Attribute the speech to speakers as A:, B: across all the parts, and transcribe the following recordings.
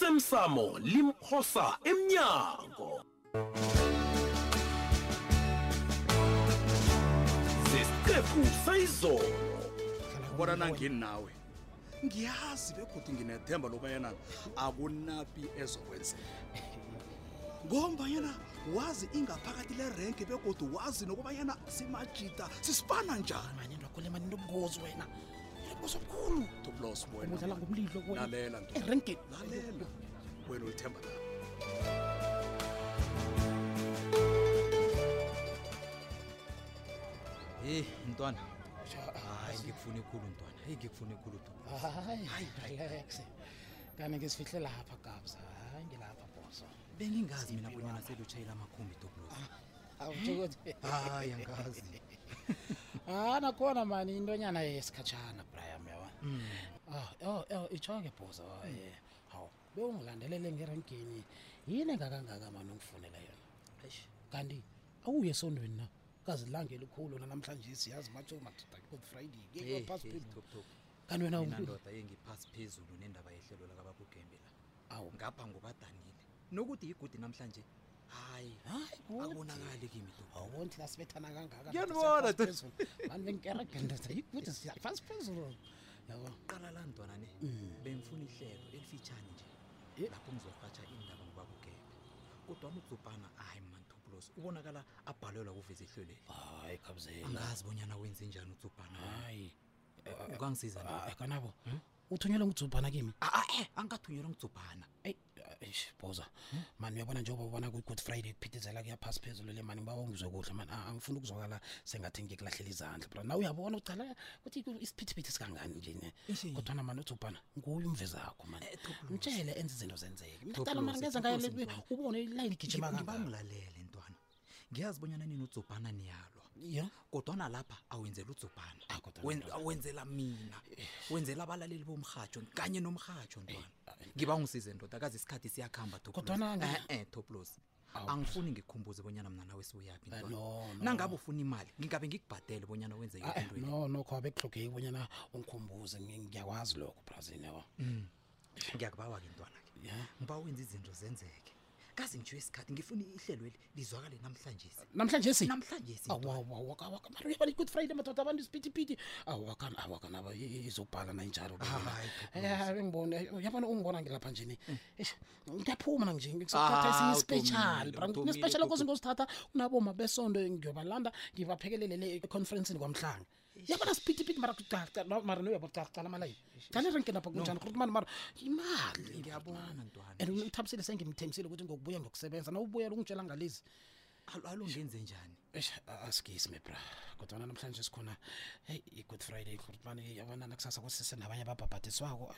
A: osemsamo limphosa emnyango zesiqephu sayizolo
B: bona nangini nawe ngiyazi begudu nginethemba lobayana akunapi ezokwenzeka ngombanyana wazi ingaphakathi lerenke begodu wazi nokubayana simajida sisifana njani
C: mani into yakho le mani into bungozi wena inobungozi obukhulu
B: toblos
C: udlala
B: wena
C: ngomlilo wena.
B: Lalela, ntombi.
C: Erenkeni.
B: lalela wena ulithemba na
D: heyi mntwana hayi ngikufuna ekhulu mntwana heyi ngikufuna ekhulu mntwana
C: hayi hayi relax kanti ngisifihle lapha gabza hayi ngilapha boso
D: bengingazi mina bonyana selutshayela amakhumbi toblos
C: awukuthi
D: hayi angazi
C: ha Ah, nakhona mani intonyana yesikhatshana brian yawa Ah, oh oh itshoke bhoza
D: Mm.
C: ye hawu bewungilandelele ngerenkini yini engakangaka mani ungifunela yona kanti awuye esondweni na kazilangeli khulu nanamhlanje siyazi matsho madoda good friday
D: Hey,
C: ke phasi
D: Mm. hey,
C: phezulu
D: stop, stop.
C: kanti wena
D: mina
C: awukhulu
D: ndoda yengiphasi phezulu nendaba yehlelo lakabakugembe la
C: awu
D: ngapha ngobadanile nokuthi igudi namhlanje hayi
C: hayi
D: abonakali kimi to
C: awonthi lasibethana kangaka ndoda,
D: Ngiyanibona,
C: siyaphasi
D: doda.
C: phezulu. mani benkereke ndoda ikuthi siyaphasi phezulu Mm. yabo
D: qala la mntwana ne bengifuna ihlelo elifitshane nje
C: Eh.
D: lapho ngizorhatsha indaba ngobakugembe kodwa amudlubhana hayi mantoplos ubonakala abhalelwa kuveza ihleleli
C: hayi khabuzela
D: angazi bonyana wenze njani udzubhana
C: hayi
D: ukangisiza na
C: hayi Ah, kanabo uthunyelwe ngujubhana kimi
D: ae angathunyelwa ngijubhana
C: eyi eish boza mani uyabona njengoba ubona kwi-good friday kuphithizela kuyaphasi phezulu le mani ngiba ungizwe kuhle mani Ah, angifuni ukuzwakala sengathi ngikuhlahlela izandla bra nawe uyabona ucala kuthi ku- isiphithiphithi sikangani nje ne
D: Ishi.
C: kodwana mani ujubhana nguye umvezi akho mani mtshele enze izinto zenzeke mnatala
D: Toplosi,
C: mani ngeza ngayo
D: Toplosi
C: le-
D: mntwana.
C: ubone ilayini gijima kangaka
D: ngibangilalele ntwana ngiyazi bonyana nini udzubhana niyalwa
C: ya
D: kodwana lapha awenzela udzubhana
C: Ah, Eh. kodwa
D: Wen-
C: ngiyakuzwa.
D: awenzela mina wenzela abalaleli bomrhatsho kanye
C: Eh,
D: nomrhatsho ntwana ngiba ungisize ndoda kazi isikhathi siyakuhamba Toplos.
C: Kodwana ngi-
D: Eh, eh toplos angifuni ngikhumbuze bonyana mna nawe siuyaphi
C: Eh,
D: ntwana.
C: no, no.
D: nangabe ufuna imali ngingabe ngikubhadele bonyana wenze
C: Ah,
D: yonke
C: eh,
D: into le.
C: no nokho abekulogeki bonyana ungikhumbuze ngi- ngiyakwazi lokho brazil yabo
D: ngiyakubawa-ke ntwana-ke
C: ya
D: ngiba wenza izinto zenzeke kazi ngijiwe isikhathi ngifuna ihlelo eli lizwakale namhlanje
C: namhlanje si
D: namhlanje si
C: awawawakawaka mara uyabona i-good friday madoda abantu isiphithiphithi awakana awakanaba izobhala nayinjalo
E: Ah,
D: Hayi,
C: bengibone uyabona ungibona ngilapha njeni Eish, ngiyaphuma nanje ngisothatha
D: Mm. Ah,
C: esinye
D: udomile,
C: isipeshali bra
D: udomile,
C: nesipeshali
D: Toto.
C: akosi ngosithatha kunaboma besondo ngiyobalanda ngibaphekelele le econferensini kwamhlanga
D: Eh,
C: yabona siphithiphithi mara kucaca- no, mara noyabacacala malayini dlala renke lapha kunjani kuthi mani mara imali
D: ngiyabona ntwana
C: and uthabisile sengimthembisile ukuthi ngokubuya ngokusebenza nawubuyela ungitshela ngalezi
D: Alo- alo ngenze njani
C: eish asigisi mebra kodwana namhlanje sikhona heyi i-good friday kurbani yabona nakusasa kusise nabanye ababhabhadiswako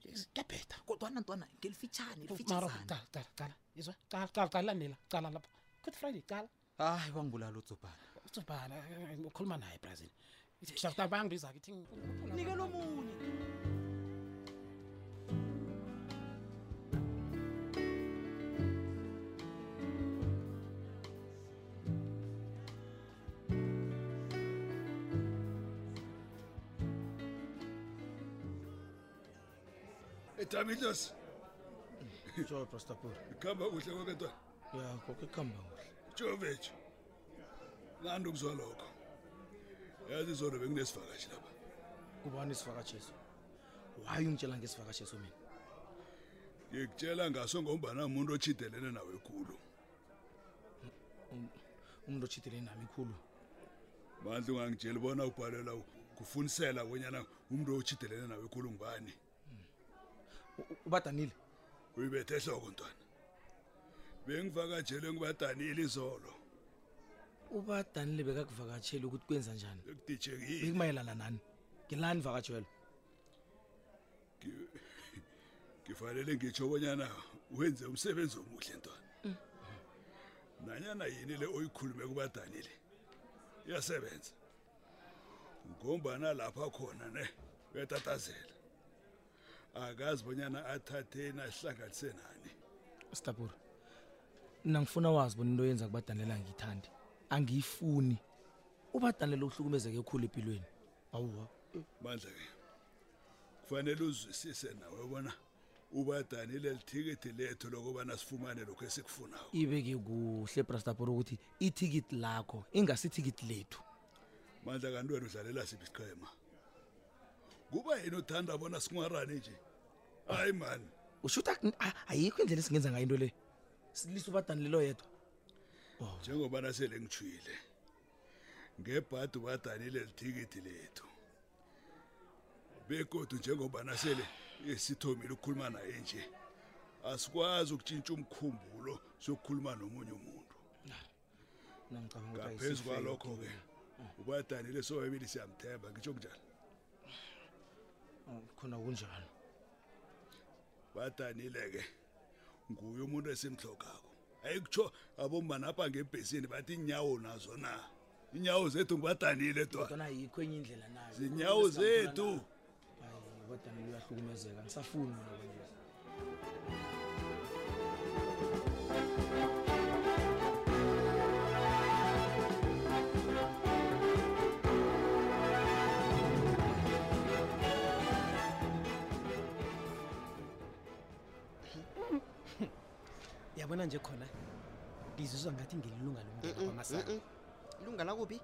C: kuyabheda
D: kodwana ntwana ngelifitshane
C: mara cala cala cala izwa cala cala cala nila cala lapha good friday cala
D: hayi wangibulala udzubhana
C: usubhala ukhuluma naye brazil bayangibiza-ke thi
D: nikela omunye
F: etamitos
G: so pastapur
F: khamba kuhle kwabentwana
G: ya koke kuhamba kuhle
F: jovetsho nandi ukuzwa lokho yazi izolo bekunesivakashi lapha
G: kubani isivakatshiso waye ungitshela ngesivakatshiso mina
F: ngikutshela ngaso ngombana umuntu otshidelene nawe khulu
C: Um,
G: umuntu otshidele nami ikhulu
F: mandla ungangitsheli bona ubhalela kufunisela bonyana umuntu otshidelene nawe khulu ngubani
G: U- u- ubadanile
F: uyibethe ehloko ntwana bengivakatshele ngibadanile izolo
G: ubadanile bekakuvakatsheli ukuthi kwenza njani
F: bekudijekile
G: bekumayelana nani ngilani vakatshwelo
F: ngifanele ngitsho bonyana wenze umsebenzi omuhle ntwana nanyana yini le oyikhulume kubadanile iyasebenza ngombana lapha khona ne uyatatazela akazi bonyana athatheni ahlanganise nani
G: stapura mna ngifuna wazi bona into yenza kubadanile angiyithandi angiyifuni ubadanile uhlukumezeke ekhulu empilweni awuwa
F: mandla-ke kufanele uzwisise nawe bona ubadanile lithikiti lethu lokubana sifumane lokho esikufunako
G: ibeke kuhle brastapor ukuthi ithikiti lakho ingasithikiti lethu
F: mandla kanti wena udlalela siphi isiqhema kuba yini uthanda bona singarani nje hayi mani
G: ushuta ayikho indlela esingenza ngayo into le silisa ubadanilelo yedwa
F: njengobana sele ngitshwile ngebhadi ubadanile lithikiti lethu begodu njengobana sele eh, sithomile ukukhuluma naye nje asikwazi ukutshintsha umkhumbulo sokukhuluma nomunye umuntu ngaphezu kwalokho-ke ubadanile sobabili siyamthemba ngitsho kunjani
G: khona kunjalo
F: badanile-ke nguye umuntu esimhlogako ayikutsho abomanapha ngebhesini bathi inyawo nazo na inyawo zethu ngibadanile dwa
G: kodwana ayikho enye indlela nayo
F: zinyawo
G: לא
F: zethu
G: badanilo uyahlukumezeka ngisafuni mina kwanje.
E: yabona nje khona ngizizwa ngathi ngililunga
H: Mm,
E: lomndeni kwamasana
H: lunga lakubi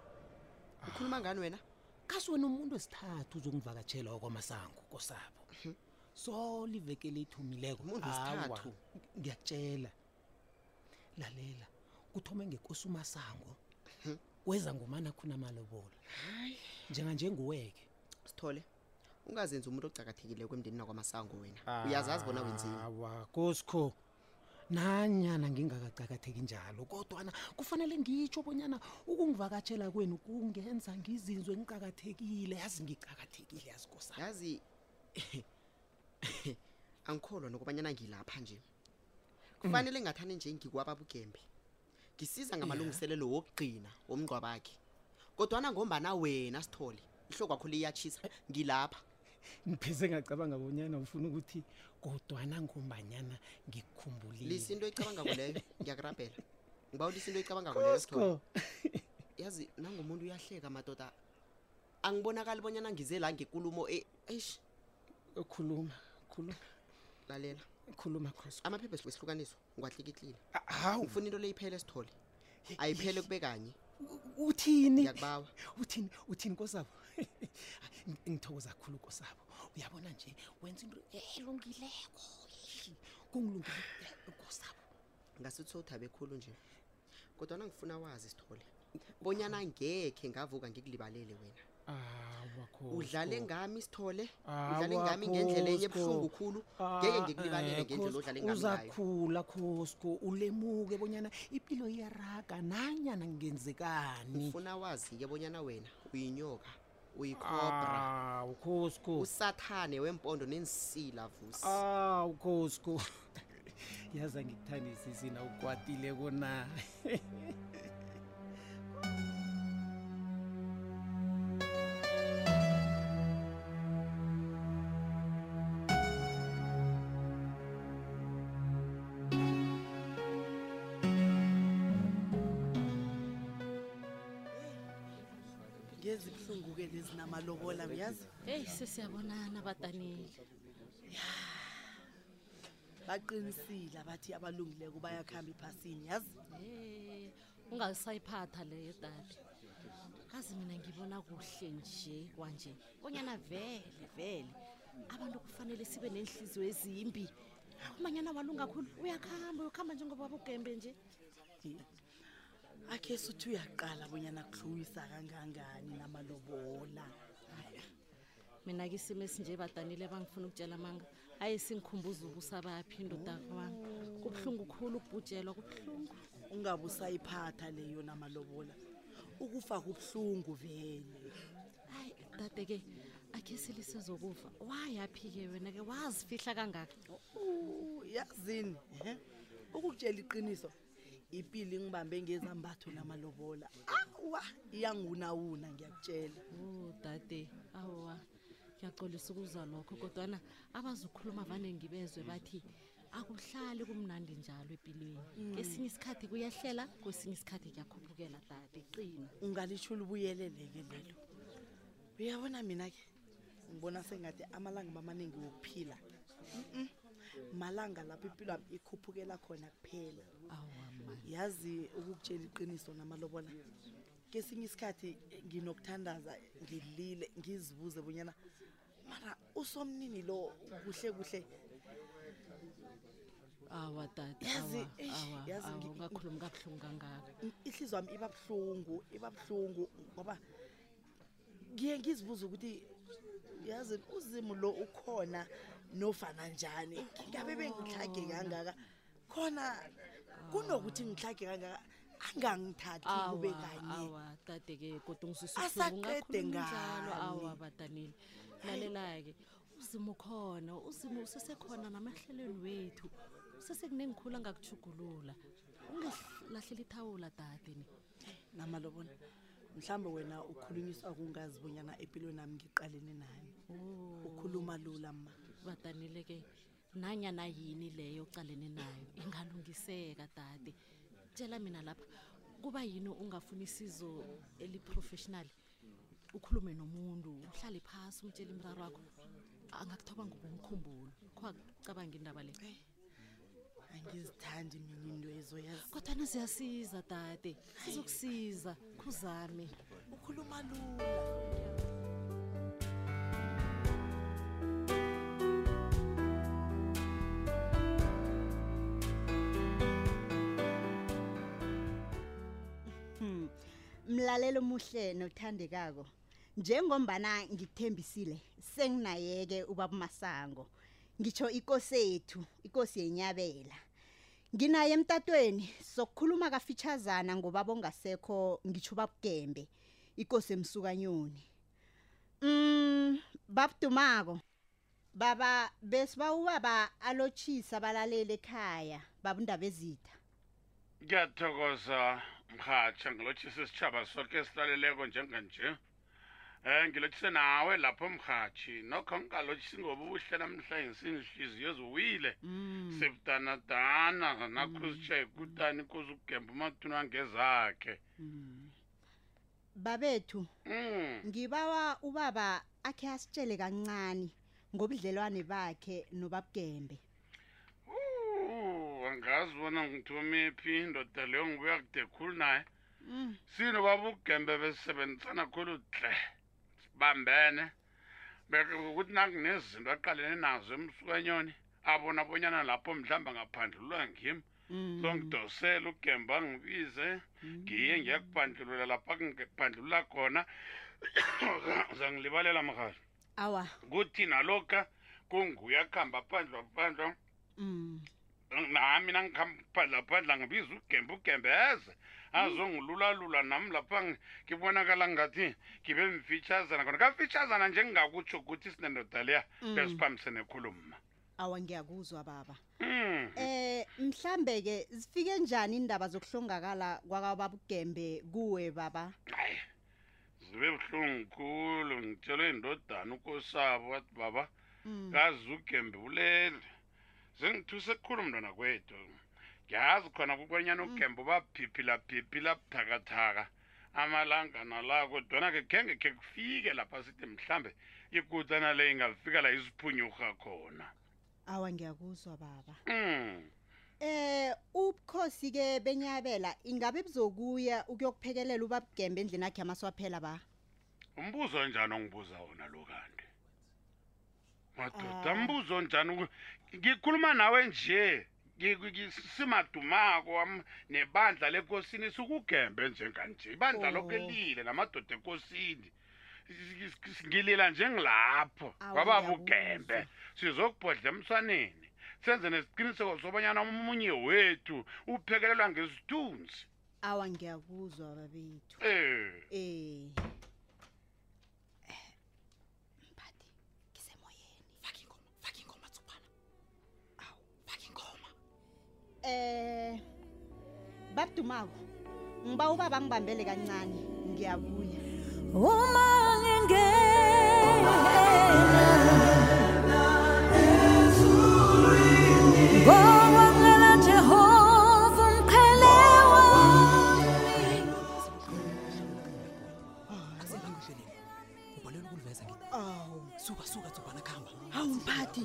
H: ukhuluma ngani wena
E: kasi wena umuntu wesithathu uzongivakatshela okwamasango kosabo solivekele ithumileko
H: Mhm. Umuntu
E: Awa,
H: wesithathu?
E: ngiyakutshela lalela kuthome ngekosi umasango
H: Mhm.
E: kweza ngumana khuna malobola njenganje nguweke
H: sithole ungazenzi umuntu ocakathekileko emndenini akwamasango wena uyazazi bona wenzeni
E: awa kosikho nanyana ngingakacakatheki njalo kodwana kufanele ngitsho bonyana ukungivakatshela kwenu kungenza ngizinzwe ngicakathekile yazi ngicakathekile yazi kosa
H: yazi angikholwa nokubanyana ngilapha nje kufanele ngathane nje ngikwababukembe ngisiza ngamalungiselelo wokugcina womngcwa bakhe kodwana ngombana wena sithole ihlokwakho liyatshisa ngilapha
E: ngiphize ngacabanga bonyana ufuna ukuthi kodwana ngombanyana ngikukhumbulile
H: lisinto ecabangako leyo ngiyakurabhela ngiba ulisa into ecabangako leyo sithole yazi nangumuntu uyahleka madoda angibonakali bonyana ngize la ngekulumo e- eish
E: khuluma khuluma
H: lalela
E: khuluma khosi
H: amaphepha esihlukaniso esihlukaniso ngiwatlikitlile
E: hawu
H: ngifuna into le iphele sithole ayiphele kube kanye
E: uthini
H: Ngiyakubawa.
E: uthini uthini kosabo Ng- ngithokoza kakhulu kosabo uyabona nje wenza into eh, elungileko Eish, kungilungile eh, kosabo
H: ngasuthi sowuthabe khulu nje kodwana ngifuna wazi sithole bonyana ngekhe ngavuka ngikulibalele wena udlale ngami sithole udlale
E: Awa,
H: ngami ngendlela enye
E: Khosko.
H: ebuhlungu khulu ngeke ngikulibalele ngendlela odlale ngami ngayo
E: Ah, eh, uzakhula khosko ulemuke bonyana impilo iyaraga nanyana ngenzekani
H: ngifuna wazi-ke bonyana wena uyinyoka uyikhobra
E: awu khosko
H: usathane wempondo nensila vusi
E: awu khosko yaza ngikuthandisisina ukwatile kona
I: ngezi buhlungu-ke lezi namalobola uyazi
J: eyi sesiyabonana badanile
I: baqinisile abathi abalungileko bayakuhamba iphasini yazi
J: e ungasayiphatha leyo dade kazi mina ngibona kuhle nje kwanje bonyana vele vele abantu kufanele sibe nenhliziyo ezimbi umanyana walunga khulu uyakuhamba uyokuhamba njengoba bugembe nje
I: akhe suthi uyaqala bonyana kuhluwisa kangangani namalobola
J: mina-ke isimo esinje badanile bangifuna ukutshela manga aye singikhumbuza ubusabaphi indoda kwami kubuhlungu khulu ukubhujelwa kubuhlungu
I: ungabe usayiphatha leyo namalobola ukufa kubuhlungu vele
J: hayi dade-ke akhe silisizokuva wayaphi-ke wena-ke wazifihla kangaka
I: Uh, yazini ehe. ukukutshela iqiniso ipilo ingibambe ngezambatho namalobola awa iyangunawuna ngiyakutshela
J: Oh dade awa ngiyaxolisa ukuza lokho kodwana abazukhuluma vane ngibezwe bathi akuhlali kumnandi njalo empilweni
I: Mm.
J: kesinye isikhathi kuyahlela kwesinye isikhathi kuyakhuphukela dade qina
I: ungalitsho libuyeleleke lelo uyabona mina-ke ngibona sengathi amalanga bamaningi wokuphila Mm-mm. malanga lapho impilo yami ikhuphukela khona kuphela
J: awa mani
I: yazi ukukutshela iqiniso namalobola kesinye isikhathi nginokuthandaza ngilile ngizibuze bonyana mara usomnini lo kuhle kuhle
J: awa tata
I: Yazi,
J: awa,
I: eish,
J: awa,
I: yazi
J: awa,
I: ngi-
J: ungakhulumi kabuhlungu kangaka
I: ihliziyo wami iba buhlungu iba buhlungu ngoba ngiye ngizibuza ukuthi yazi uzimu lo ukhona nofana njani ngabe bengihlage kangaka khona kunokuthi ngihlage kangaka angangithathi kube kanye
J: awa kade-ke kodwa
I: Asaqede
J: ngisusunjalo awa
I: ngani?
J: badanile lalela-ke uzimo khona uzimo usesekhona namahlelweni wethu usesekunengikhulu angakujugulula ungalahleli ithawula dadeni
I: namalobona mhlawumbe wena ukhulunyiswa kungazi bonyana empilweni nami ngiqalene nayo ukhuluma lula ma
J: badanile-ke nanyana yini leyo ocalene nayo ingalungiseka dade tshela mina lapha kuba yini ungafuni isizo eliprofessionali ukhulume nomuntu uhlale phasi umtshele imraro wakho angakuthoba ngokomkhumbulo kho akucabangi indaba le
I: Eh, angizithandi mina into ezoyazi
J: kodwa naziyasiza dade sizokusiza khuzame
I: ukhuluma lula
K: Hmm. Mlalelo muhle nothandekako. Njengombana ngikuthembisile, senginayeke ubaba Masango. Ngitsho ikosi ethu, ikosi yenyabela. Nginaye emtatweni sokukhuluma kafitshazana ngobaba ongasekho ngitsho babukembe, ikosi emsukanyoni. Mm, babudumako. Baba besiba ubaba alotshisa abalaleli ekhaya, baba indaba ezitha.
L: ngiyathokoza mhatsha ngilotshise isitshaba soke esilaleleko njenganje um ngilotshise nawe lapho mhatshi nokho ngingalotshisi ngoba ubuhle namhlanje inhliziyo ziwile Mm. sibudanadana nakho uzitshaye kutani kuze ukugemba umatuna angezakhe
K: Mm. babethu
L: Mm.
K: ngibawa ubaba akhe asitshele kancane ngobudlelwane bakhe nobabugembe
L: Uh, angazi bona ngithomephi indoda leyo ngibuya kude khulu naye sino babugembe besebenzisana khulu hle sibambene bekukuthi nanginezinto aqalene nazo emsukanyoni abona bonyana lapho mhlawumbe ngaphandlulwa ngimi Mm. songidosela ugembe angibize ngiye ngiyakubhandlulula lapho ngibhandlulula khona uzangilibalela mrhalo
K: awa
L: kuthi nalokha kunguya kuhamba phandlwa phandlwa
K: mm.
L: nami nangiphandlaphandla ah, ngibiza ugembe ugembe eze azongilulalula nami lapha ngi- ngibonakala ngathi ngibe mfitshazana khona kafitshazana njengingakutsho ukuthi sinendoda leya
K: Mm.
L: besiphambisene khuluma
K: awa ngiyakuzwa baba
L: Hmm.
K: eh mhlambe ke zifike njani indaba zokuhlongakala kwakababugembe kuwe baba
L: zibe buhlungu khulu ngitshelwe indodana ukosabo wathi baba
K: Mm,
L: kazi ugembe ulele zengithuse kukhulu mntwana kwethu ngiyazi khona kukwanyana ugembe ubaphiphilaphiphila buthakathaka amalanga nala kodwana-ke khenge khe kufike lapha sithi mhlambe ikutana le ingafika la iziphunyurha khona
K: awa ngiyakuzwa baba
L: mm.
K: eh ubukhosi ke benyabela ingabe buzokuya ukuyokuphekelela ubabugembe endlini yakhe yamaswaphela ba
L: umbuzo njani ongibuza wona lo kanti madoda
K: Ah.
L: mbuzo njani uku- ngikhuluma nawe nje Ngi- ngi- simadumako am- nebandla lenkosini sikugembe njenganje ibandla
K: Oh.
L: lokho lile namadoda enkosini S- s- ngilila njengilapho
K: Awu,
L: kwababa
K: ngiyakuzwa.
L: ugembe sizokubhodla emswaneni senze nesiqiniseko sobanyana omunye wethu uphekelelwa ngesithunzi
K: awa ngiyakuzwa babethu
L: um
K: eh Eh babudumako ngiba uba bangibambele kancane ngiyabuya
M: uma ngingena ezulwini ngoba ngala Jehova umqhelewa
D: Ah, é ubhalela ukuliveza ngithi
K: awu
D: suka suka dzobana kuhamba
K: hawu mphathi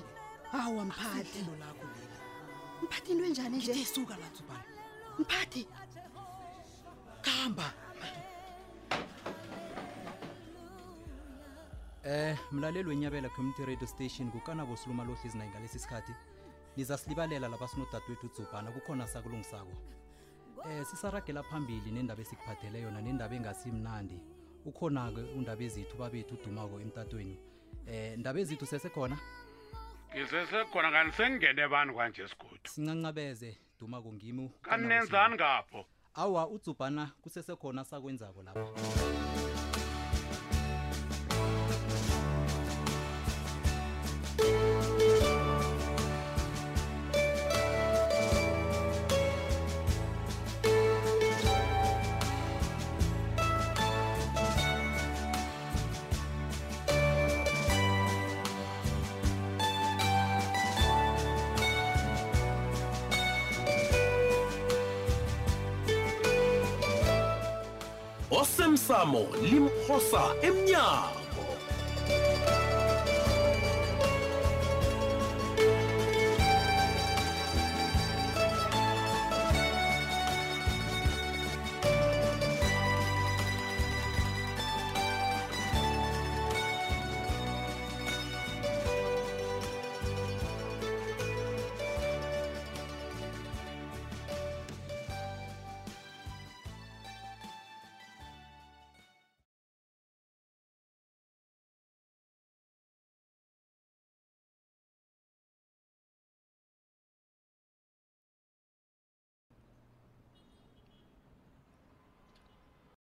K: hawu mphathi
D: lakho
I: mphathi into enjani nje
N: esuka latsubana
I: mphathi
N: kamba Eh mlaleli wenyabela community radio station kukanabo siluma lohlizi naye ngalesi sikhathi nizasilibalela laba sinodadewethu udzubhana kukhona sakulungisako Eh sisaragela phambili nendaba esikuphathele yona nendaba engasimnandi ukhona-ke undaba ezithu babethu udumako emtatweni Eh ndaba ezithu sesekhona
L: ngisesekhona kanti sengingene bani kwanje sigodu
N: sincancabeze dumako ngimi
L: kanti nenzani ngapho
N: awa udzubhana kusesekhona sakwenzako lapha
A: osemsamo limphosa emnyango